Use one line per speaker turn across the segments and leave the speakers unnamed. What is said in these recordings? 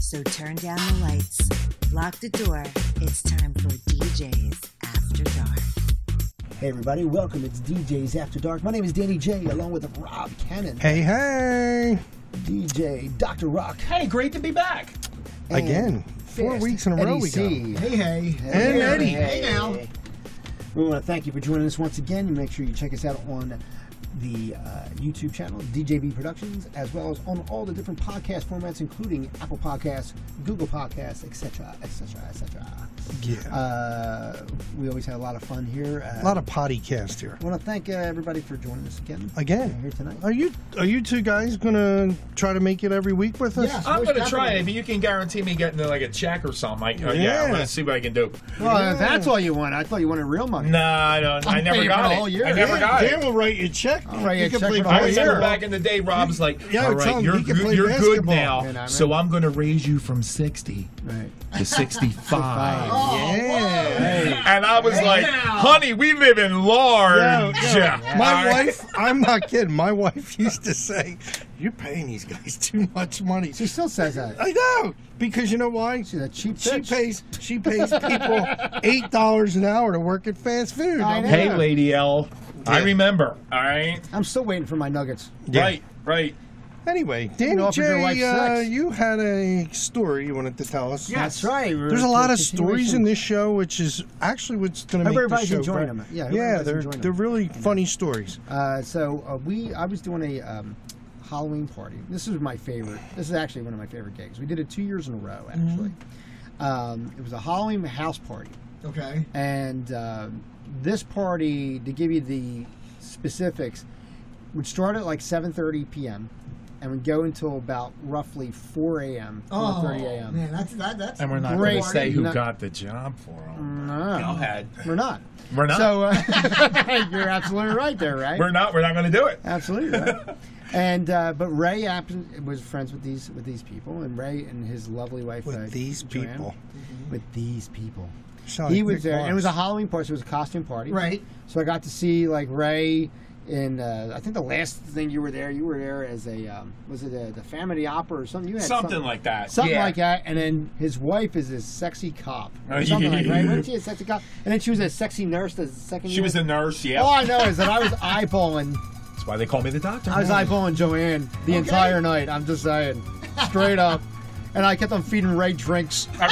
So turn down the lights, lock the door. It's time for DJ's After Dark.
Hey everybody, welcome. It's DJ's After Dark. My name is Danny J, along with Rob Cannon,
Hey, hey!
DJ Dr. Rock,
Hey, great to be back.
and
Again, four
Fist,
weeks in a row
Eddie
we
C.
go.
Hey,
hey.
And Eddie.
Hey, now.
We want to thank you for joining us once again. Make sure you check us out on the uh, YouTube channel, DJV Productions, as well as on all the different podcast formats, including Apple Podcasts, Google Podcasts, etc., etc., etc.
Yeah,
Uh, we always had a lot of fun here. Uh,
a lot of potty cast here.
I want to thank uh, everybody for joining us again.
Again.
Here tonight.
Are you are you two guys gonna try to make it every week with us?
Yeah.
I'm
Most
going to try
definitely.
it, but you can guarantee me getting like a check or something. Like, uh, yeah. I'm
Yeah.
going to see what I can do.
Well, if that's all you want. I thought you wanted real money.
No, I don't. I
I'm
never
paying
got
for
it.
all year.
I never
Yeah,
got
Dan
it.
will write you a check.
I'll write you a
can
check
play
for the
I
whole
basketball.
remember
year.
back in the day, Rob's like,
Yeah, I
all
would tell
right,
him,
you're,
"You can
good-
play
you're good
basketball."
now,
And I'm
so I'm going to raise you from 60
Right. Uh,
to
Uh,
65.
Yeah.
And I was like, honey, we live in large.
Yeah,
Yeah.
My
I-
wife, I'm not kidding. My wife used to say, "You're paying these guys too much money."
She still says that.
I know because you know why?
She's a cheap
She
bitch.
pays she pays people eight dollars an hour to work at fast food.
I
I'm
know.
like,
Hey, Lady L, I remember. All right.
I'm still waiting for my nuggets.
Yeah.
Right, right.
Anyway, Danny
offered your wife
J, uh,
sex.
you had a story you wanted to tell us.
Yeah.
That's right.
There's a lot of stories in this show, which is actually what's going to make
Everybody's
the show
enjoying
great.
them. Yeah,
yeah,
everybody's
they're
enjoying them.
they're really funny stories.
Uh, so uh, we, I was doing a um, Halloween party. This is my favorite. This is actually one of my favorite gigs. We did it two years in a row. Actually,
Mm-hmm.
um, it was a Halloween house party.
Okay.
And um this party, to give you the specifics, would start at like 7:30 p.m. and would go until about roughly 4 a.m. 4:30 a.m.
Oh, man, that's that, that's.
And we're not going
Great.
to say who
Not-
got the job for him.
No,
Go ahead.
Ah. we're not.
We're not.
So uh, you're absolutely right there, right?
We're not. We're not going to do it.
Absolutely. Right? and uh, but Ray happen- was friends with these with these people, and Ray and his lovely wife
With
uh,
these
Joanne,
people.
With these people,
Sound
he
like
was
Nick
there. And it was a
Lawrence.
Halloween party. So it was a costume party,
Right.
So I got to see like Ray. In uh, I think the last thing you were there, you were there as a um, was it a, the Family Opera or something? You had
Something, like that.
something
yeah.
like that. And then his wife is this sexy cop,
Oh,
or something like right?
yeah.
Wasn't she a sexy cop? And then she was a sexy nurse. The second
She
year?
was a nurse. Yeah.
All Oh, I know is that I was eyeballing.
That's why they call me the doctor.
I was eyeballing Joanne the entire night. I'm just saying, straight up. And I kept on feeding Ray drinks.
I,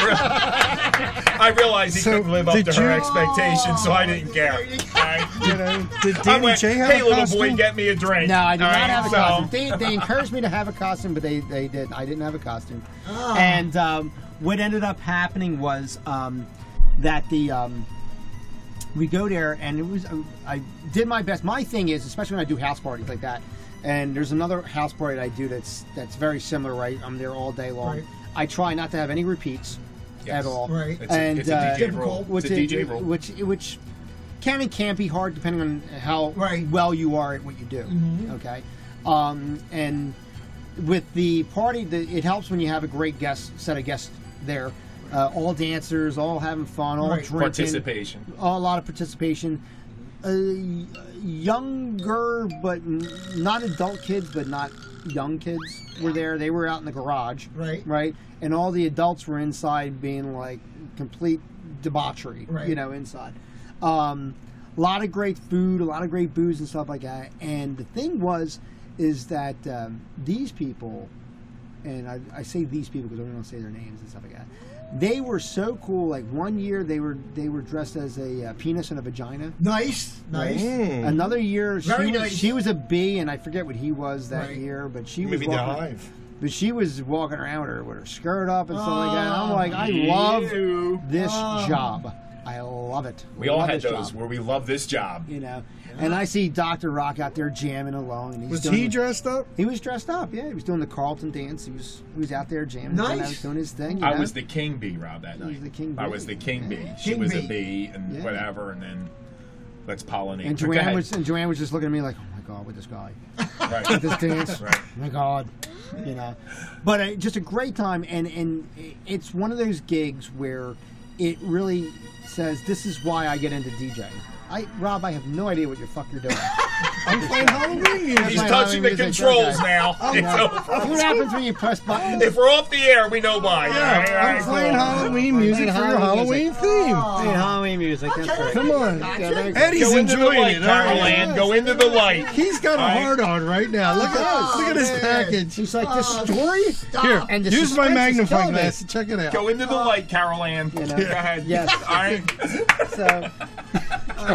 re- I realized he
So,
couldn't live up
did
to her
you-
expectations, so I didn't care. I,
You know, did
I
Danny
went,
J have
hey,
a
little
costume?
boy, get me a drink.
No, I did
All
not
right,
have a
so-
costume. They, they encouraged me to have a costume, but they, they did. I didn't have a costume.
Oh.
And um, what ended up happening was um, that the um, we go there, and it was uh, I did my best. My thing is, especially when I do house parties like that, and there's another house party that I do that's that's very similar. Right, I'm there all day long.
Right.
I try not to have any repeats at
Yes.
all. uh,
Right.
It's a- it's a DJ rule. It's
Which
a
it-
DJ rule.
Which which can and can't be hard depending on how
Right. Mm-hmm.
well you are at what you do. Okay, um, and with the party, the, it helps when you have a great guest set of guests there. Uh, all dancers, all having fun, all
Right.
drinking,
Participation.
a lot of participation. Uh, younger, but n- not adult kids, but not young kids were there. They were out in the garage,
Right.
Right, and all the adults were inside, being like complete debauchery,
Right.
you know, inside. Um, a lot of great food, a lot of great booze and stuff like that. And the thing was, is that um, these people and I, I say these people because I don't want to say their names and stuff like that. They were so cool. Like one year, they were they were dressed as a uh, penis and a vagina.
Nice. Nice.
Hmm.
Mm.
Another year, she
Very
was,
nice.
she was a bee, and I forget what he was that
Right.
year. But she
Maybe
was
the
walking,
hive.
but she was walking around with her with her skirt up and stuff like that. And I'm
Oh,
like, I love
you.
this
Oh.
job. I love it.
We all
Love
had
this
those
job,
where we love this job.
you know. And I see Doctor Rock out there jamming along. And he's
Was
doing
he
the-
dressed up?
He was dressed up, yeah. He was doing the Carlton dance. He was he was out there jamming.
Nice.
and I was doing his thing. you
I
know?
was the king bee, Rob, that
You
night.
was the king
I
bee.
was the king bee. She
King
was a
bee.
bee and
Yeah.
whatever, and then let's pollinate.
and
But go
Joanne
ahead.
was and Joanne was just looking at me like, oh my god, with this guy,
Right.
this dance,
Right.
oh my god, you know. But uh, just a great time, and and it's one of those gigs where it really says this is why I get into DJing. I Rob, I have no idea what your fuck you're doing.
I'm playing Halloween music.
He's
That's why
touching
Halloween
the
music,
controls
okay.
now.
Oh,
It's
See
over.
what happens when you press buttons?
If we're off the air, we know why.
Yeah,
All right,
I'm
cool.
playing Halloween music for your
Halloween
Halloween theme.
Hey,
Oh,
Halloween music. That's
Okay.
right.
Come on.
Yeah, there you go.
Eddie's
Go into the
enjoying
light,
it. all right?
Carol Ann. Go into the light.
He's got
All
a
right.
hard on right now. Look at
Oh,
look at his
man.
package.
She's like, the story?
Here,
And the
use my
suspense is
magnifying
killing
glass
us.
to check it out.
Go into the light, Carol Ann.
know.
Go ahead.
Yes.
All right.
So,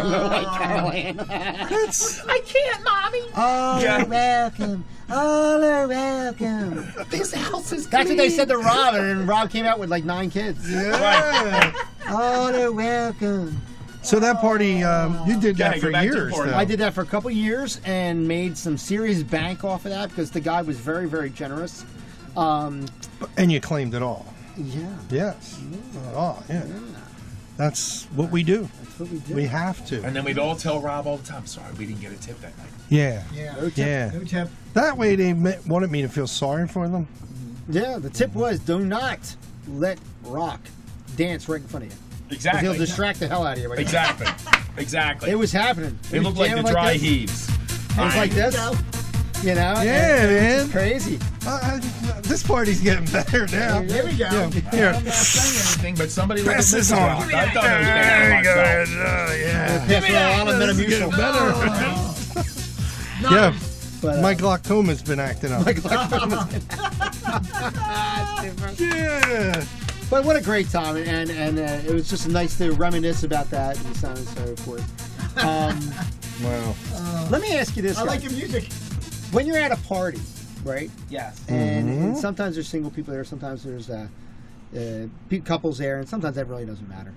That's
I can't, mommy. All
Yeah.
are welcome. All are welcome. This house is
that's what
clean.
they said to Rob, and Rob came out with like nine kids.
yeah.
All are welcome.
So that party, um, you did
Yeah,
that
go
for
back to the
years.
party.
though.
I did that for a couple years and made some serious bank off of that because the guy was very, very generous. Um,
and you claimed it all.
yeah,
Yes.
Mm.
Not all. Yeah. That's what we do.
that's what we did.
We have to.
And then we'd all tell Rob all the time, sorry, we didn't get a tip that night.
Yeah.
Yeah.
No tip.
Yeah.
No tip.
That way they ma- wanted me to feel sorry for them.
Yeah, the tip was do not let rock dance right in front of you. 'Cause
Exactly.
He'll distract the hell out of you. Right
exactly. exactly.
It was happening.
they
was
look like the
jamming
dry
this.
heaves.
It was like this,
Go.
you know? and it
Yeah,
was
man.
Crazy.
Uh, uh, this party's getting better now.
There we go.
Yeah.
I'm
Here.
not saying anything, but somebody let
Pass
the
this
missiles
on.
out. I've done those things myself.
Oh, yeah.
Passed me a lot of
This is getting
Metamucil.
better. yeah,
But, uh,
my glaucoma's been acting up. yeah.
But what a great time, and and uh, it was just nice to reminisce about that and so on and so forth. Um,
Wow.
let me ask you this:
Oh. I like
guys.
your music.
When you're at a party, right?
Yes.
Mm-hmm.
And, and sometimes there's single people there, sometimes there's uh, uh, pe- couples there, and sometimes that really doesn't matter.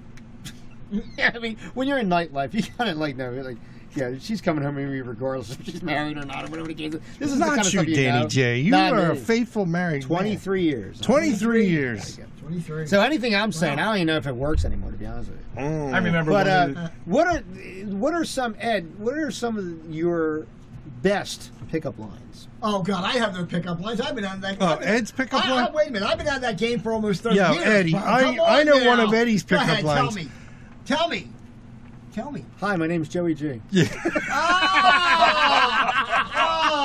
yeah, I mean, when you're in nightlife, you kind of like know, like, yeah, she's coming home with me regardless if she's married or not or whatever the case. is. This is the kind
Not
of
you,
stuff you
Danny
know.
J. You
Not
are a
me.
faithful married man.
23 years.
23 years.
23.
So anything I'm saying, I don't even know if it works anymore, to be honest with you.
I remember
But
one of
uh, what are what are some Ed? What are some of your best pickup lines?
Oh God, I have no pickup lines. I've been on that.
Oh,
I've been-
Ed's pickup
I-
line?
I- Ah, wait a minute, I've been on that game for almost thirty
Yo,
years.
Eddie,
Come
I-
on
I know
now.
one of Eddie's
Go
pickup
ahead,
lines.
Tell me, tell me, tell me.
Hi, my name's Joey G.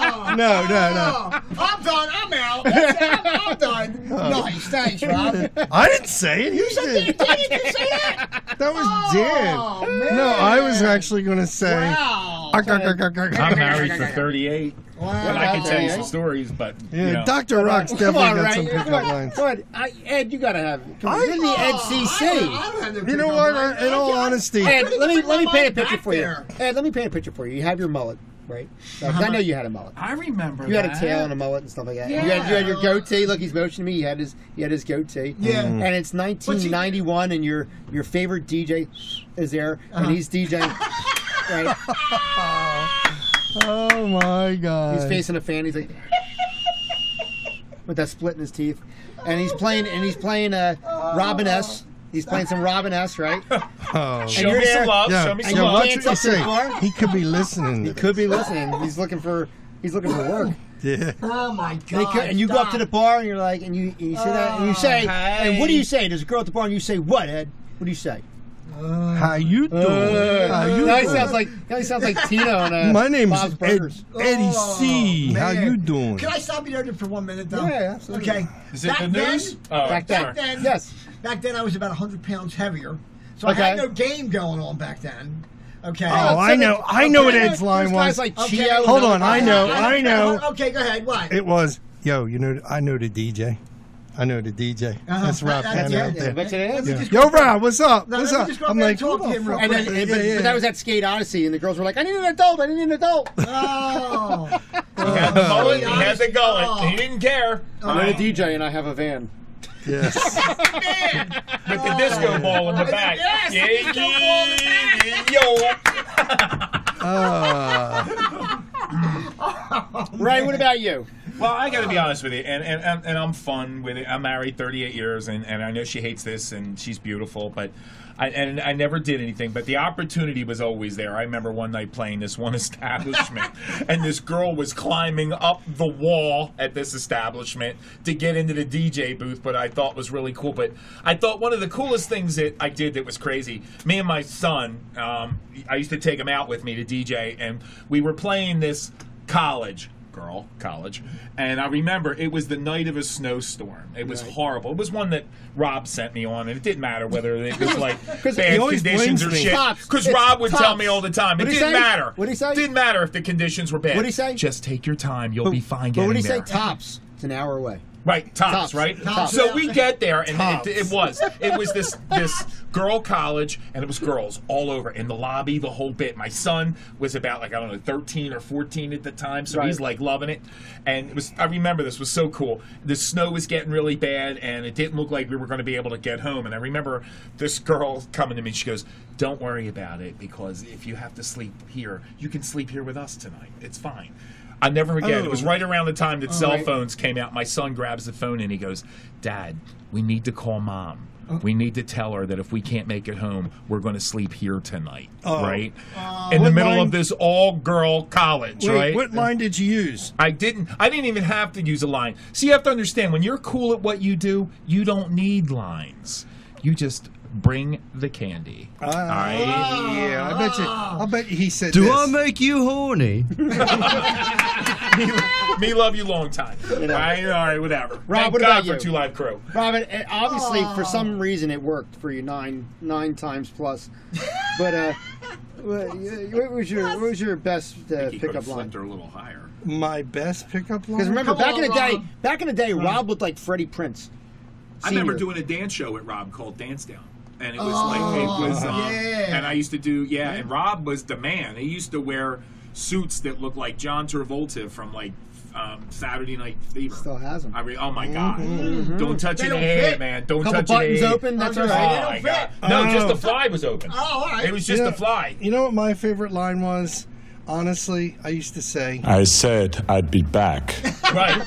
Oh,
No, no, no. Oh.
oh, I'm done. I'm out. That's it, I'm, I'm done. Nice, thanks, Rob.
I didn't say it. You
Did you say that?
That was
Oh,
Dan.
man.
No, I was actually going to say. Ah,
Wow.
Ark, ark, ark, ark, ark.
I'm married for 38.
Wow.
And I can tell you some
Yeah.
stories, but you
Yeah,
know.
Dr. Rock's
Come
definitely
on,
got
right?
some
Come
pickup
on,
lines.
come on. I, Ed, you gotta have. Come on,
I-
you're the Ed
I
CC.
don't- I don't have no
You know
pickup
what?
lines.
In all
I- I-
honesty,
I
Ed,
couldn't
let me
even
let me
bring
paint a
mine
picture
back
for you.
there.
Ed, let me paint a picture for you. You have your mullet, right? Now, 'cause I know you had a mullet.
I remember
You had a
that.
tail and a mullet and stuff like that. You, had, you had your goatee. Look, he's motioning me. He had his he had his goatee.
Yeah. Mm.
And it's 1991, and your your favorite DJ is there, and he's DJing. right.
Oh my God.
He's facing a fan. He's like with that split in his teeth, and he's playing and he's playing uh, Robin S. He's playing some Robin S. Right.
Oh.
Show
you're
me
there.
some love.
Yeah,
Show me
yeah,
some love.
watch what you
Dance up
say.
before.
He could be listening.
He could be listening. He's looking for he's looking for work.
Yeah.
Oh my
They
god!
could, and you go up to the
stop.
bar and you're like, and you, and you say that, and you say,
Oh,
and what do you say? There's a girl at the bar, and you say, what, Ed? What do you say?
How you doing?
Uh,
How Uh, you
now he
doing?
sounds like now he sounds like Tino on uh,
My name
Bob's
is Ed,
Burgers.
Eddie C.
Oh,
How
man.
you doing?
Can I stop you there for one minute, though?
Yeah, absolutely.
Okay.
Is it the
then-
news? Oh,
Back
back
then,
sorry.
then,
yes.
Back then, I was about 100 pounds heavier, so
Okay.
I had no game going on back then. Okay.
Oh, I know. I know what Ed's line
This
was.
guy's like
Okay.
Chio.
Hold on, I know.
Okay,
I know.
Okay, go ahead. Why?
It was, yo, you know, I know the DJ. I know the DJ.
Uh-huh.
That's Rob
That-
Tanner
that's
out
it.
I
there.
bet you it is.
Yeah. Yo, Rob, what's up?
No,
what's
let me
up?
just go up
I'm
there
like,
and talk
what
to him
the
real
fuck?
And then,
Yeah,
but,
yeah.
but that was at Skate Odyssey, and the girls were like, "I need an adult. I need an adult."
Oh.
He had the mullet. He
Oh.
had the gullet.
Oh.
He didn't care.
I'm a DJ, and I have a van.
Yes.
With the disco ball in the back.
Yes, the
Yeah,
disco ball in the
yeah, yeah.
Uh,
Ray, what about you?
Well, I got to be honest with you, and, and and and I'm fun with it. I'm married 38 years, and, and I know she hates this, and she's beautiful, but I and I never did anything. But the opportunity was always there. I remember one night playing this one establishment, and this girl was climbing up the wall at this establishment to get into the DJ booth. But I thought was really cool. But I thought one of the coolest things that I did that was crazy. Me and my son, um, I used to take him out with me to DJ, and we were playing this college girl college and i remember it was the night of a snowstorm it was horrible it was one that rob sent me on and it didn't matter whether it was like
he
bad
always
conditions
blames
or
me.
shit
Tops.
because
It's
rob would tell
tops.
me all the time it
What'd he
didn't
say?
matter
What'd he say?
didn't matter if the conditions were bad
What'd he say?
just take your time you'll be fine
But
getting
what do you say?
there
Tops. It's an hour away.
Right, tops,
Tops.
right?
Tops.
So we get there, and
Tops.
it, it was it was this this girl college, and it was girls all over in the lobby, the whole bit. My son was about like I don't know, thirteen or fourteen at the time, so he's like loving it. And it was I remember this was so cool. The snow was getting really bad, and it didn't look like we were going to be able to get home. And I remember this girl coming to me, she goes, "Don't worry about it, because if you have to sleep here, you can sleep here with us tonight. It's fine." I never forget. It was
Oh.
right around the time that cell phones came out. My son grabs the phone and he goes, "Dad, we need to call mom. We need to tell her that if we can't make it home, we're going to sleep here tonight,
Oh.
right? In the
What
middle of
line-
this all-girl college,
Wait,
right?
What line did you use?
I didn't. I didn't even have to use a line. So you have to understand when you're cool at what you do, you don't need lines. You just bring the candy. I-
Oh.
Yeah, I bet you. I bet you he said.
Do
this.
I make you horny?
me love you long time. I, all right, whatever. Thank
what
God
about
for
you?
Two Live Crew.
Robin, it, obviously, for some reason, it worked for you nine nine times plus. But uh, what, what was your what was your best uh,
He
pickup
could've
line?
flipped her a little higher.
my best pickup line?
Because remember,
Come
back
on,
in the day,
Rob.
back in the day, Rob looked like Freddie Prince.
I remember
Senior.
doing a dance show at Rob called Dance Down. And it was like, it was, um,
yeah.
and I used to do, yeah, and Rob was the man. He used to wear suits that looked like John Travolta from like um, Saturday Night Fever.
Still has 'em.
I mean, oh my God. Don't touch
They
any
don't
hair,
fit.
man. Don't
Couple
touch
buttons
any hair.
open. That's
Oh,
all
you're
right.
Oh my
right. They don't
God.
fit.
No,
Oh.
just the fly was open.
Oh, all right.
It was just
You
the
know-
fly.
You know what my favorite line was? Honestly, I used to say,
I said I'd be back.
Right.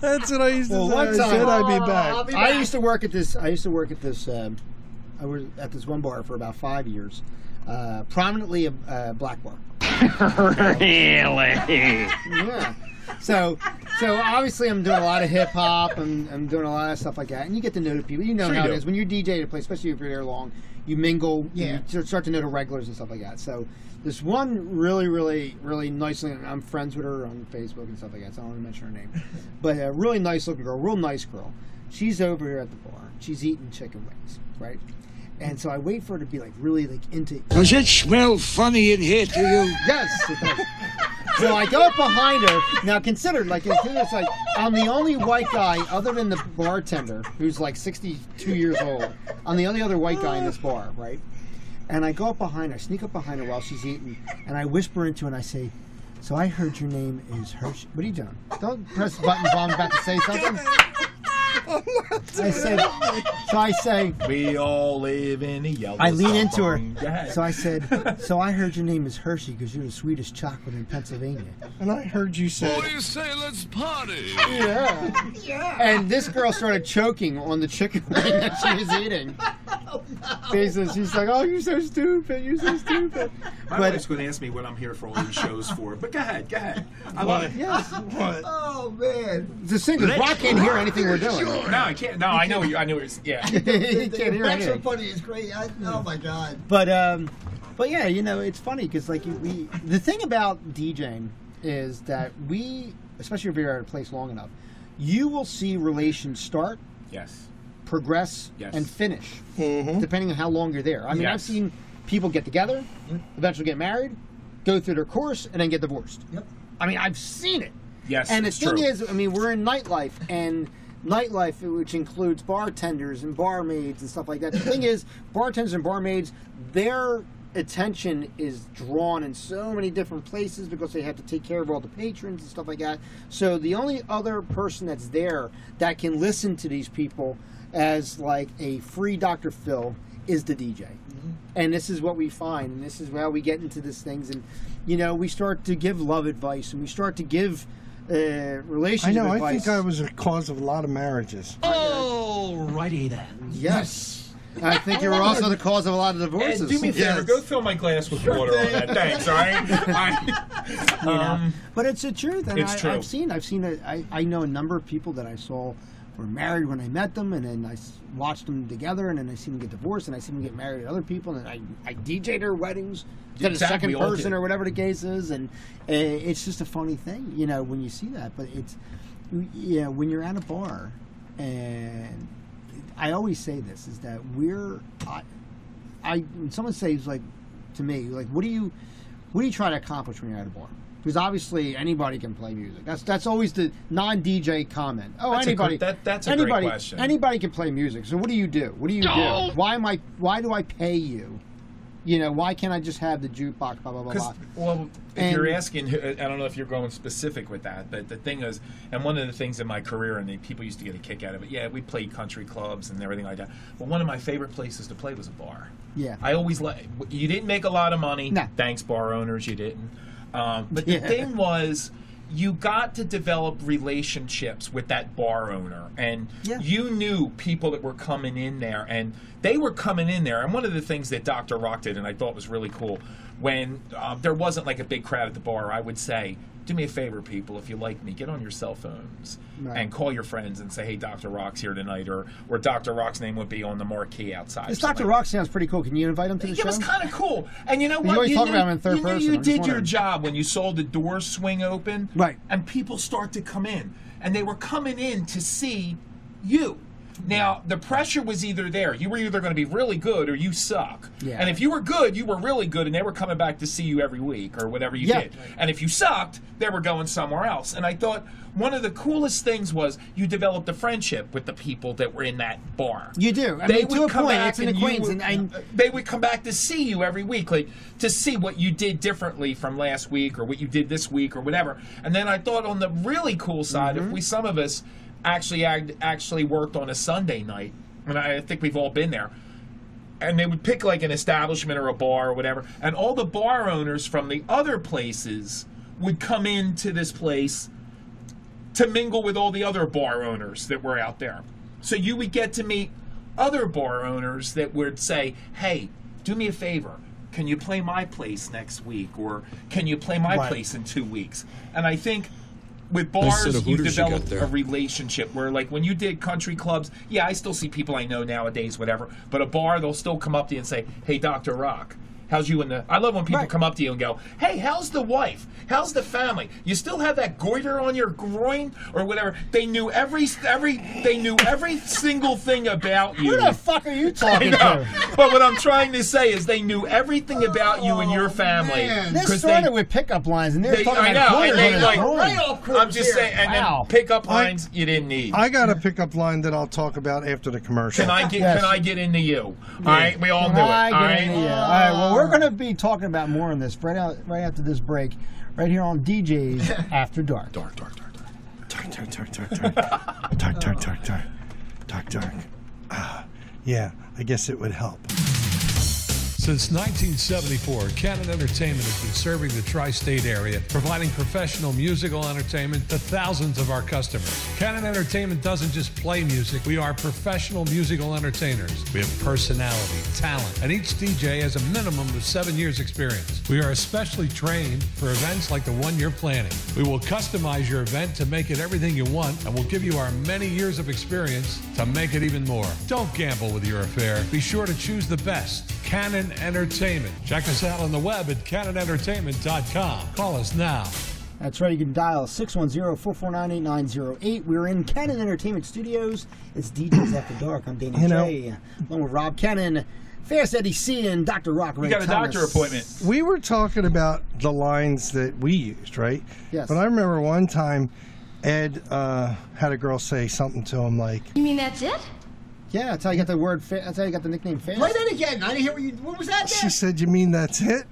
that's what I used to
Well,
say.
one
I said
time-
I'd be
I'll
back.
be
I
back.
used to work at this. I used to work at this. Um, I was at this one bar for about five years, uh, prominently a uh, black bar. really? Yeah. So, so obviously, I'm doing a lot of hip hop. I'm, I'm doing a lot of stuff like that, and you get to know the people. You know
Sure you
how
do.
it is when you DJ at a place, especially if you're there long. You mingle,
Yeah.
you sort- start to know the regulars and stuff like that. So, this one really, really, really nice. and I'm friends with her on Facebook and stuff like that. So I don't want to mention her name, but a really nice looking girl, real nice girl. She's over here at the bar. She's eating chicken wings, right? And so I wait for her to be like really like into
Does it smell funny in here to you?
Yes, it does. So I go up behind her. Now consider, like, it's it's like I'm the only white guy other than the bartender, who's like 62 years old. I'm the only other white guy in this bar, right? And I go up behind her, sneak up behind her while she's eating, and I whisper into her and I say, "So I heard your name is Hershey. What are you doing? Don't press the button. while I'm about to say something." I said, so I say,
we all live in a yellow.
I lean into her.
submarine. Go ahead.
So I said, So I heard your name is Hershey because you're the sweetest chocolate in Pennsylvania.
And I heard you say,
Yeah. And this girl started choking on the chicken wing that she was eating. Basically, she's like, Oh, you're so stupid. You're so stupid.
My
But-
wife's going to ask me what I'm here for all these shows for. But go ahead, go ahead. I love it.
Yes.
what?
Oh man.
The singer, Rock can't hear anything we're doing.
No, I can't. No, I know you. I knew it was. Yeah.
he
The
can't hear
effects are
anything.
funny. It's great. I, oh my god.
But um, but yeah, you know, it's funny because like you- we, the thing about DJing is that we, especially if you're at a place long enough, you will see relations start,
Yes.
progress,
Yes.
and finish, depending on how long you're there. I mean, I've
Yes.
seen people get together, eventually get married, go through their course, and then get divorced.
Yep.
I mean, I've seen it.
Yes,
And
it's
the thing
true.
is, I mean, we're in nightlife and nightlife, which includes bartenders and barmaids and stuff like that. The thing is, bartenders and barmaids, their attention is drawn in so many different places because they have to take care of all the patrons and stuff like that. So the only other person that's there that can listen to these people as like a free Dr.
Mm-hmm.
Phil is the DJ and this is what we find and this is how we get into these things and you know, we start to give love advice and we start to give uh,
I
relationship
know. I
advice.
think I was a cause of a lot of marriages.
Alrighty then.
Yes. I think you were also the cause of a lot of
Ed,
divorces.
do me a favor.
Yes.
Go fill my glass with water on that. Thanks. All right. I- um,
But it's the truth, and
It's
I,
true.
I've seen, I've seen, a, I, I know a number of people that I saw were married when I met them, and then I s- watched them together, and then I seen them get divorced, and I seen them get married to other people, and I, I DJ'd their weddings, to the
Exactly,
second
we all
person
did.
or whatever the case is, and uh, it's just a funny thing, you know, when you see that. But it's, yeah, when you're at a bar, and I always say this is that we're, I, I when someone says like to me like what do you what do you try to accomplish when you're at a bar? Because obviously anybody can play music. That's that's always the non DJ comment. Oh
That's a
anybody
good- that- that's a great
anybody
question.
anybody can play music. So what do you do? What do you do? Why am I why do I pay you? You know why can't I just have the jukebox? Blah blah blah.
'cause-
blah.
well, if
And-
you're asking, I don't know if you're going specific with that, but the thing is, and one of the things in my career, and the people used to get a kick out of it. Yeah, we played country clubs and everything like that. But one of my favorite places to play was a bar.
Yeah.
I always like. You didn't make a lot of money.
No.
Thanks, bar owners, you didn't. Um, but
Yeah.
the thing was, you got to develop relationships with that bar owner, and
Yeah.
you knew people that were coming in there, and they were coming in there. And one of the things that Doctor Rock did, and I thought was really cool, when um, there wasn't like a big crowd at the bar, I would say. Do me a favor, people. If you like me, get on your cell phones
Right.
and call your friends and say, "Hey, Doctor Rock's here tonight," or or Doctor Rock's name would be on the marquee outside.
this
or something
Dr.
like
Rock sounds pretty cool. Can you invite him to the
it
show?
was kind of cool. And you know what?
always talk
knew,
about him in third
you knew
person.
you
I'm just
did your
wondering.
job when you saw the door swing open.
Right.
And people start to come in. And they were coming in to see you. Now, the pressure was either there. You were either going to be really good or you suck.
Yeah.
And if you were good, you were really good, and they were coming back to see you every week or whatever you
Yeah.
did. And if you sucked, they were going somewhere else. And I thought one of the coolest things was you developed a friendship with the people that were in that bar.
You do. I mean, to a point, it's an
and you
acquaintance,
would- uh,
and- and-
they would come back to see you every week, like to see what you did differently from last week or what you did this week or whatever. And then I thought on the really cool side,
Mm-hmm.
if we some of us actually act- actually worked on a Sunday night, and I think we've all been there. And they would pick like an establishment or a bar or whatever, and all the bar owners from the other places would come into this place to mingle with all the other bar owners that were out there. So you would get to meet other bar owners that would say, "Hey, do me a favor. Can you play my place next week or can you play my
Right.
place in 2 weeks?" And I think with
Nice set
bars
of
you
Hooters you got
develop
there.
a relationship where like when you did country clubs, yeah, I still see people I know nowadays whatever, but a bar they'll still come up to you and say, "Hey, Dr. Rock, How's you and the? I love when people
Right.
come up to you and go, "Hey, how's the wife? How's the family? You still have that goiter on your groin or whatever?" They knew every every they knew every single thing about you.
Who the fuck are you talking
No,
to?
but what I'm trying to say is they knew everything about you and your family.
man.
Oh, This
'cause
started
they,
with pickup lines, and they're
they,
talking
I
about
know, and
quarters
they
on his
like,
own.
Right.
I'm just saying, and
Wow.
then pick up
I-
lines you didn't need.
I got a pickup line that I'll talk about after the commercial.
can I get
Yes.
can I get into you? All right, we all do it. All
I get
right,
an idea. uh, All right. Well, we're going to be talking about more on this right out right after this break, right here on DJs After Dark.
Dark, dark, dark, dark. Dark, dark, dark, dark, dark. Dark, dark, dark, dark. Dark, dark. Ah, yeah, I guess it would help.
Since 1974, Cannon Entertainment has been serving the tri state area, providing professional musical entertainment to thousands of our customers. Cannon Entertainment doesn't just play music, we are professional musical entertainers. We have personality, talent, and each DJ has a minimum of seven years' experience. We are especially trained for events like the one you're planning. We will customize your event to make it everything you want, and we'll give you our many years of experience to make it even more. Don't gamble with your affair. Be sure to choose the best. Canon Entertainment. Check us out on the web at canonentertainment.com. Call us now.
That's right. You can dial 610-449-8908. We're in Cannon Entertainment Studios. It's DJs After Dark. I'm Danny
You know-
J, along with Rob Cannon, Fast Eddie C, and Dr. Rock. Ray
you got a
Thomas.
doctor appointment.
We were talking about the lines that we used, right?
Yes.
But I remember one time Ed uh, had a girl say something to him like,
You mean that's it?
Yeah, that's how you got the word. Fa- that's how you got the nickname Fast.
Play that again. I didn't hear what you. What was that?
She
there?
said, You mean that's it?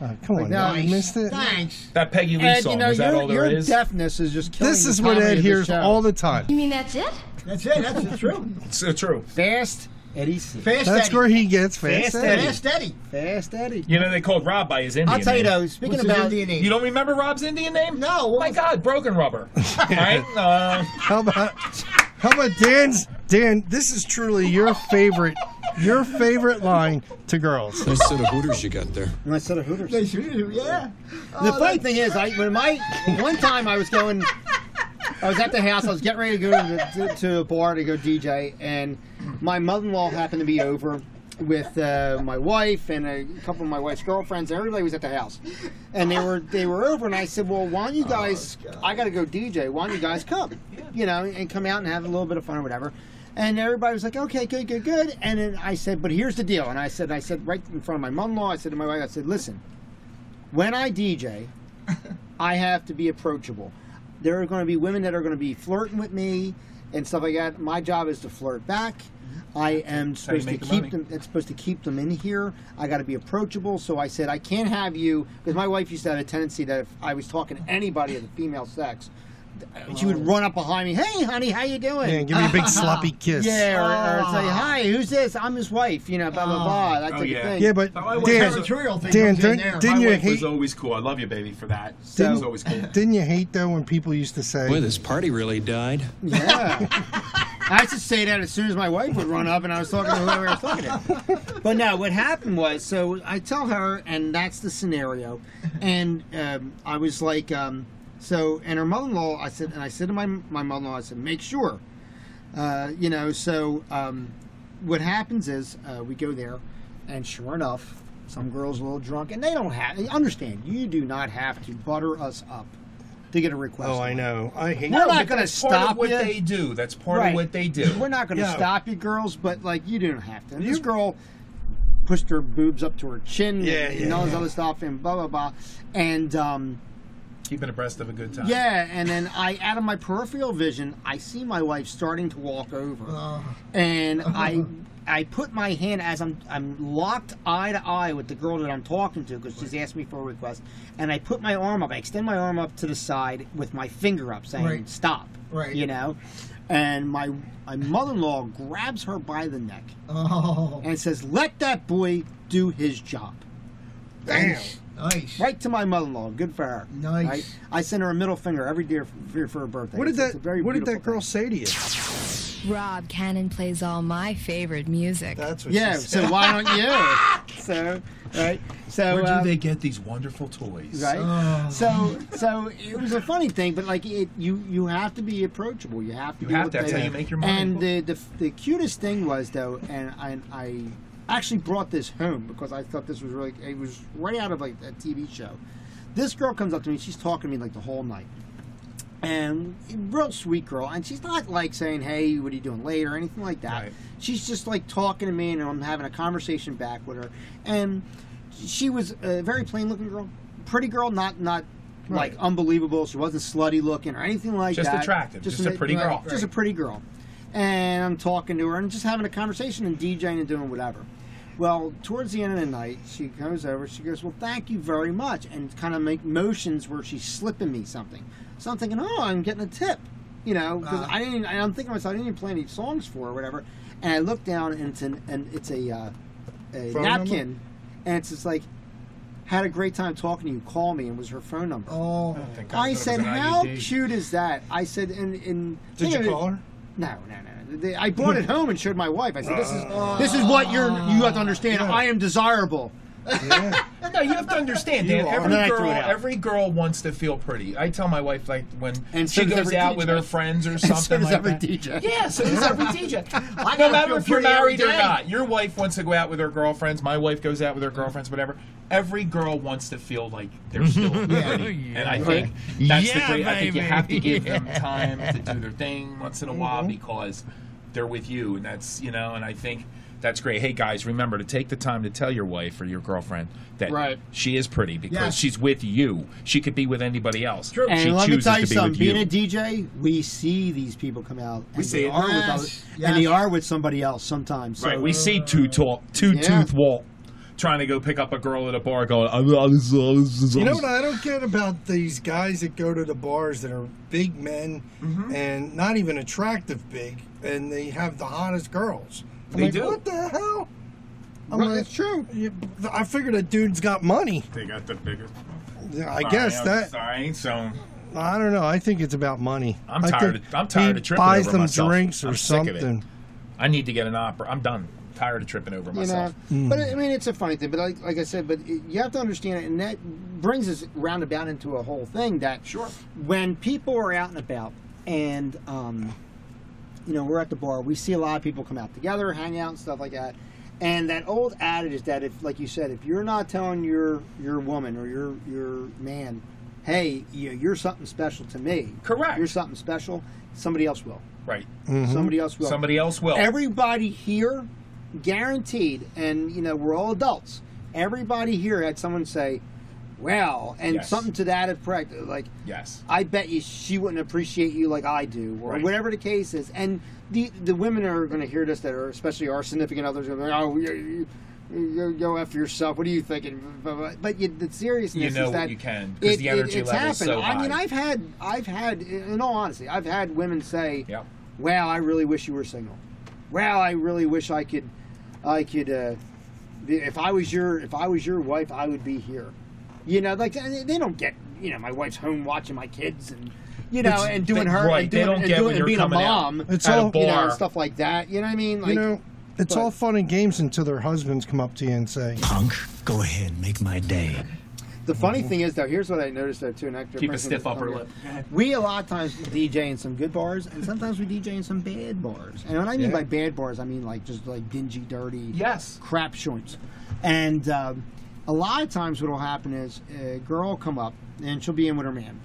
Uh, come on, now
that.
you missed it.
Thanks.
That Peggy Lee
Ed,
song
you know,
is that
your,
all
your
there is?
deafness is just killing
This
the
is what
comedy of
Ed
the
hears
show.
all the time.
You mean that's it?
That's it. That's true.
It's uh, true.
Fast Eddie C.
Fast
That's
Eddie.
where he gets fast.
Fast
Eddie.
Fast Eddie.
Fast Eddie.
You know, they called Rob by his Indian
I'll tell you
name.
though. Speaking
What's his
about
Indian name?
You don't remember Rob's Indian name?
No, what
My
was-
God, broken rubber. right? Uh,
How about how about Dan's Dan? This is truly your favorite, your favorite line to girls.
Nice set of hooters you got there.
my son of Hooters.
They should do, yeah.
the funny thing is, I when my one time I was going, I was at the house. I was getting ready to go to, the, to, to a bar to go DJ, and my mother-in-law happened to be over with uh, my wife and a couple of my wife's girlfriends. and Everybody was at the house, and they were they were over, and I said, "Well, why don't you guys? I got to go DJ. Why don't you guys come? You know, and come out and have a little bit of fun or whatever." And everybody was like, okay, good, good, good. And then I said, but here's the deal. And I said, I said right in front of my mother-in-law, I said to my wife, I said, listen, when I DJ, I have to be approachable. There are going to be women that are going to be flirting with me and stuff like that. My job is to flirt back. I am
how you
supposed to
Mm-hmm. make the
keep
money.
them. It's supposed to keep them in here. I got to be approachable. So I said I can't have you because my wife used to have a tendency that if I was talking to anybody of the female sex, she would run up behind me. Hey, honey, how you doing?
Dan, give me a big sloppy kiss.
yeah, or, or say hi. Who's this? I'm his wife. You know, blah blah blah. That
Ah. Oh,
type
yeah.
of thing.
Yeah, but
My wife
Dan,
has a
Territorial thing
Dan,
comes in
didn't,
there.
didn't
my
you
wife
hate?
was always cool. I love you, baby, for that. She
Didn't-
was always cool.
Didn't you hate though when people used to say?
Boy, this party really died.
Yeah. I used to say that as soon as my wife would run up and I was talking to whoever I was talking to. But no, what happened was, so I tell her, and that's the scenario. And um, I was like, um, so, and her mother in law, I said, and I said to my, my mother in law, I said, make sure. Uh, you know, so um, what happens is uh, we go there, and sure enough, some girl's a little drunk, and they don't have, understand, you do not have to butter us up to get a request.
Oh, I know. I hate.
We're
No,
not
but
going to
that's part of
stop
what
you.
they do. That's part
Right.
of what they do.
We're not going to
Yeah.
stop you, girls, but like you don't have to. And this girl pushed her boobs up to her chin
Yeah,
and,
yeah,
all this
yeah.
other stuff and blah blah blah. And um,
keeping abreast of a good time.
yeah, and then I out of my peripheral vision, I see my wife starting to walk over,
Uh-huh.
and I. I put my hand as I'm I'm locked eye to eye with the girl that I'm talking to because she's asked me for a request, and I put my arm up. I extend my arm up to the side with my finger up, saying
Right.
"stop."
Right.
You know, and my my mother-in-law grabs her by the neck
Oh,
and says, "Let that boy do his job."
Damn.
nice.
Right to my mother-in-law. Good for her.
Nice.
Right? I send her a middle finger every year for, for her birthday.
What did
It's- it's
that?
a very
What did that
beautiful
girl
thing.
say to you?
Rob Cannon plays all my favorite music.
That's what.
Yeah.
She said.
So why don't you? So right. So
Where do
um,
they get these wonderful toys?
right? So so it was a funny thing, but like it, you you have to be approachable. You have to.
You
be
have
what
to. That's
they-
how you make your money.
And the, the the cutest thing was though, and I I actually brought this home because I thought this was really it was right out of like a TV show. This girl comes up to me. She's talking to me like the whole night. And real sweet girl, and she's not like saying, "Hey, what are you doing later?" or anything like that.
Right.
She's just like talking to me, and I'm having a conversation back with her. And she was a very plain looking girl, pretty girl, not not like unbelievable. She wasn't slutty looking or anything like
Just
that.
attractive, just a
ma-
pretty girl.
just a pretty girl. And I'm talking to her and just having a conversation and DJing and doing whatever. Well, towards the end of the night, she goes over. She goes, "Well, thank you very much," and kind of make motions where she's slipping me something. So I'm thinking, "Oh, I'm getting a tip," you know, because I didn't. and I'm thinking to myself, I didn't even play any songs for her or whatever. And I look down and it's an, and it's a, uh, a
Phone
napkin, and it's just like, "Had a great time talking to you. Call me," and was her phone number.
Oh,
I E said, "How
cute.
cute is that?" I said, "And and
Did you call her?
No, no, no. They- I brought it home and showed my wife. I said, "This is this is what you're you have to understand. I am desirable."
No, you have to understand,
You
Dan.
are.
Every
And then I threw
girl,
it out.
every girl wants to feel pretty. I tell my wife like when
And so
she
does
goes
every
out
DJ.
with her friends or
so
something
does
like
every
that.
DJ.
Yeah, so does every
I
DJ.
gotta
no matter
feel
if you're
pretty every
married or
day.
not, your wife wants to go out with her girlfriends. My wife goes out with her girlfriends, whatever. Every girl wants to feel like they're still pretty, and I think that's the great. I think you have to give them time to do their thing once
Mm-hmm.
in a while because they're with you, and that's you know. And I think that's great. Hey guys, remember to take the time to tell your wife or your girlfriend that
Right.
she is pretty because
Yes.
she's with you. She could be with anybody else. True.
And
she
let me
chooses
tell you
to be
something.
with
Being
you.
a DJ, we see these people come out. And we
see
they
it.
are with
Yes,
others,
yes.
and they are with somebody else sometimes. So
Right, we see two talk, two
Yeah.
tooth Walt trying to go pick up a girl at a bar, going, "I'm not this, uh, this, this,
You know
this."
what I don't get about these guys that go to the bars that are big men and not even attractive big, and they have the hottest girls. I'm
They
like,
do.
What the hell? I'm
Right,
like,
it's true.
you- I figured a dude's got money.
They got the biggest.
I guess that.
Sorry, so
I don't know. I think it's about money.
I'm
I
tired
think
of- I'm tired
he
of tripping
buys
over
them
myself.
drinks or
I'm sick of it.
something.
I need to get an opera. I'm done. tired of tripping over
you
myself.
know. But I mean, it's a funny thing. But like, like I said, but it, you have to understand it, and that brings us roundabout into a whole thing that
Sure.
when people are out and about, and um, you know, we're at the bar, we see a lot of people come out together, hang out, and stuff like that. And that old adage is that if, like you said, if you're not telling your your woman or your your man, hey, you, you're something special to me.
Correct.
You're something special. Somebody else will.
Right.
Somebody else will
Somebody else will.
everybody here guaranteed and you know we're all adults everybody here had someone say well and
Yes.
something to that effect like
yes.
i bet you she wouldn't appreciate you like i do or
Right.
whatever the case is and the the women are going to hear this that are especially our significant others are going oh you, you, you go after yourself what are you thinking Blah, blah, blah. but you, the seriousness
You know
is
what
that
you can, 'cause the energy
it's
level's
happened.
so
i mean
high.
i've had i've had in all honesty i've had women say
Yep.
well, I really wish you were single. Well, I really wish I could, I could. Uh, be- if I was your, if I was your wife, I would be here. You know, like they they don't get. You know, my wife's home watching my kids and you know, and doing
they-
her
right,
and
they
doing,
don't
and,
get
doing,
when
and
you're
being a
coming out
mom.
It's
at a
all-
you know,
bar.
and stuff like that. You know what I mean? Like,
you know, it's
but-
all fun and games until their husbands come up to you and say,
Punk, go ahead, make my day.
The funny thing is, though, here's what I noticed though too. An extra
Keep a
person
stiff
that's
upper
on
lip.
here. We a lot of times DJ in some good bars, and sometimes we DJ in some bad bars. And what I mean by bad bars, I mean like just like dingy, dirty,
Yes.
crap joints. And um, a lot of times, what will happen is a girl will come up and she'll be in with her man.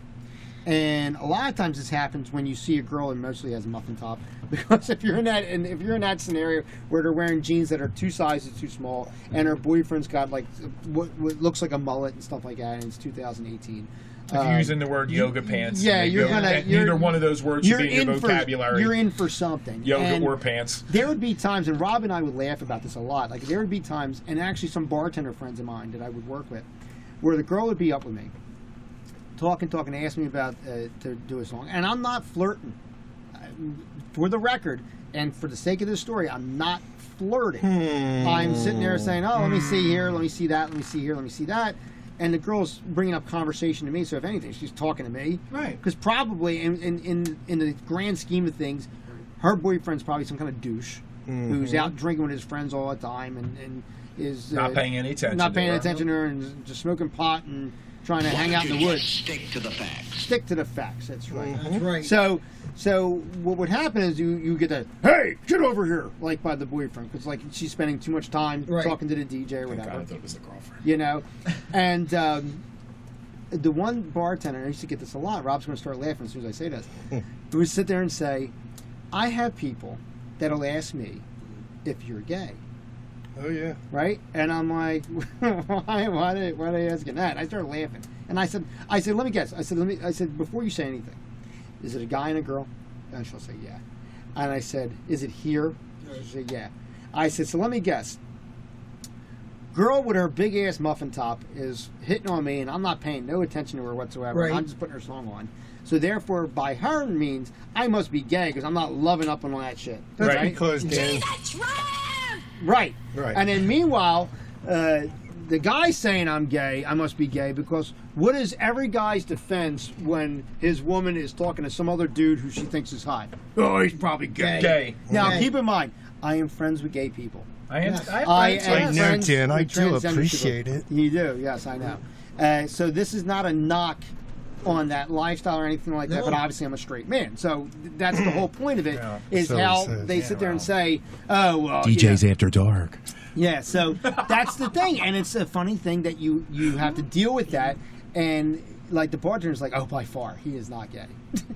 And a lot of times this happens when you see a girl and mostly has a muffin top because if you're in that and if you're in that scenario where they're wearing jeans that are two sizes too small and her boyfriend's got like what, what looks like a mullet and stuff like that and it's 2018.
If
um,
you're using the word yoga pants,
yeah,
and
you're
yoga-
gonna-
that-
you're-
neither one of those words should be in your
for-
vocabulary.
you're in for something.
yoga
And-
or pants.
there would be times, and Rob and I would laugh about this a lot. Like there would be times, and actually some bartender friends of mine that I would work with, where the girl would be up with me, talking, talking, asking me about uh, to do a song, and I'm not flirting. I- For the record, and for the sake of this story, I'm not flirting.
Hmm.
I'm sitting there saying, "Oh, let me see here, let me see that, let me see here, let me see that." And the girl's bringing up conversation to me, so if anything, she's talking to me.
Right.
Because probably, in, in, in, in the grand scheme of things, her boyfriend's probably some kind of douche
Mm-hmm.
who's out drinking with his friends all the time and, and is uh,
Not paying any attention
Not
to
paying
her.
attention to her and just smoking pot and trying to hang out in the woods.
Stick to the facts.
Stick to the facts. That's right.
Mm-hmm.
That's right.
So, so what would happen is you you get that hey get over here like by the boyfriend because like she's spending too much time
Right.
talking to the DJ or
God, I
whatever
thought it was the girlfriend.
you know. And um, the one bartender, I used to get this a lot. Rob's going to start laughing as soon as I say this. Who would sit there and say, "I have people that'll ask me if you're gay."
"Oh yeah,
right? And I'm like, why, why, they, why are they asking that? And I started laughing, and I said, I said, let me guess. I said, let me. I said, before you say anything, is it a guy and a girl? And she'll say, yeah. And I said, is it here? She said, yeah. I said, so let me guess. Girl with her big ass muffin top is hitting on me, and I'm not paying no attention to her whatsoever.
Right.
I'm just putting her song on. So therefore, by her means, I must be gay because I'm not loving up on all that shit.
that's
Right.
because Dan.
Right.
Right.
And then meanwhile, uh, the guy saying I'm gay, I must be gay because what is every guy's defense when his woman is talking to some other dude who she thinks is hot?
Oh, he's probably gay. Gay.
Now
Right.
keep in mind, I am friends with gay people.
I am. I, am
I
friends
am
with-
know,
friends
Dan, I
with
do
transgender people.
appreciate it.
You do, yes, I know. Uh, so this is not a knock on that lifestyle or anything like that, but obviously I'm a straight man, so th- that's the whole point of it. Is
So
Yeah.
how
he says.
they
Yeah,
sit there and
well.
say, "Oh, well, you know,
DJ's after dark.
yeah, so that's the thing, and it's a funny thing that you you have to deal with that, and like the bartender's like, oh, by far he is not gay.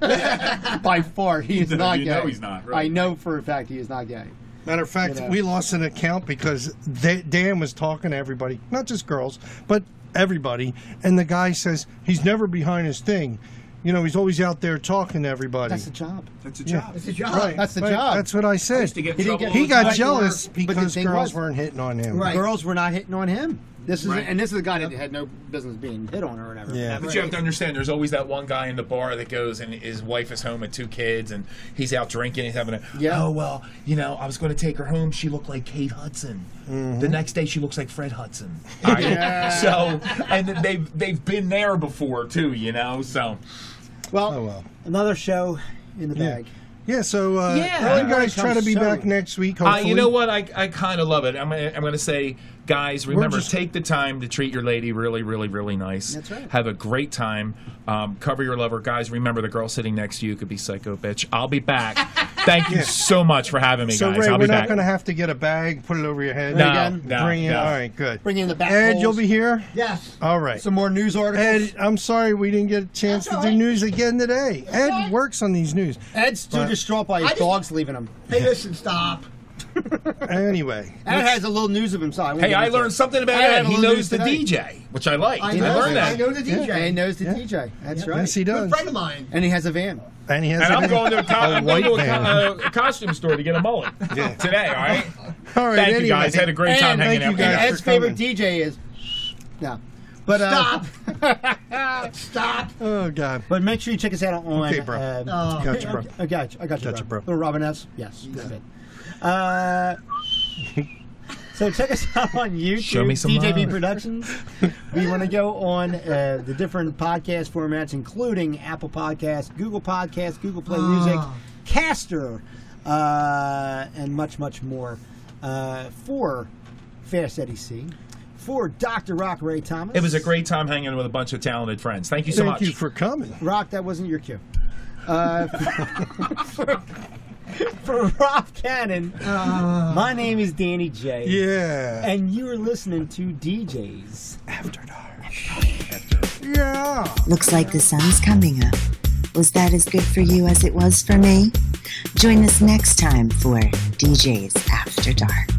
by far he is
You
not
know
gay.
he's not, right.
I know for a fact he is not gay.
Matter of fact,
You know.
we lost an account because they, Dan was talking to everybody, not just girls, but everybody. And the guy says he's never behind his thing. You know, he's always out there talking to everybody.
That's the job.
That's a job.
It's a job.
That's the
Right,
job.
That's what I said.
to get in
he
trouble
didn't get-
all the
got
But
time.
you were-
jealous
but the
because
thing
girls
was-
weren't hitting on him.
Right.
Girls were not hitting on him. This is
Right.
and this is a guy that had no business being hit on or whatever.
Yeah.
But you have to understand, there's always that one guy in the bar that goes and his wife is home with two kids and he's out drinking. He's having a,
Yeah.
oh, well, you know, I was going to take her home. She looked like Kate Hudson. The next day, she looks like Fred Hudson. All right? So, and they've, they've been there before, too, you know? So,
Well,
Oh, well.
another show in the bag.
Yeah, so uh,
Yeah.
you guys try to be
So-
back next week.
uh,
Hopefully.
you know what? I, I kind of love it. I'm going to I'm gonna say, guys, remember,
just-
take the time to treat your lady really, really, really nice.
That's right.
Have a great time. Um, cover your lover. Guys, remember, the girl sitting next to you could be psycho bitch. I'll be back. Thank you so much for having me,
So
guys.
Ray,
I'll
we're
be
not
back.
going to have to get a bag, put it over your head.
No,
again?
no,
bring it.
no.
All right, good.
Bring in the back.
Ed,
bowls.
you'll be here.
Yes.
All right.
Some more news articles.
Ed, I'm sorry we didn't get a chance
That's
to
all
do
right.
news again today. Ed works on these news.
Ed's too distraught by his
I just-
dogs leaving him.
Hey, listen, stop.
Anyway,
Ed has a little news of himself.
Hey, I learned something about
I had
Ed.
a
He
little
news
news
the
today.
DJ, which I like. I,
I know,
learned
I
that.
know the DJ.
Yeah, he knows the
Yeah.
DJ. That's right.
yes, he
Good
does.
friend of mine.
And he has a van.
And he has
And
a
I'm going to a, co- I'm going
white
to a,
man.
co- a costume store to get a mullet today, all right?
All right,
Thank
anyway.
you, guys. Had a great time
And
hanging out
thank
with
you
you.
And
guys.
Ed's
for
favorite
coming.
DJ is. No. But, uh,
Stop. Stop.
Oh God.
But make sure you check us out on.
Okay, bro.
um,
Oh.
Gotcha, bro.
I got you. I got you,
Gotcha,
bro.
bro.
Little Robin S. Yes. that's it. Uh, so check us out on YouTube.
Show me some
DJB
love.
Productions. we want to go on uh, the different podcast formats, including Apple Podcasts, Google Podcasts, Google Play Music, Caster, uh, and much, much more. Uh, for Fast Eddie C. For Dr. Rock Ray Thomas.
It was a great time hanging with a bunch of talented friends. Thank you so
Thank
much.
you for coming.
Rock, that wasn't your cue. Uh, for, for Rob Cannon, my name is Danny J.
Yeah.
And you are listening to DJs.
Yeah.
Looks like the sun's coming up. Was that as good for you as it was for me? Join us next time for DJ's After Dark.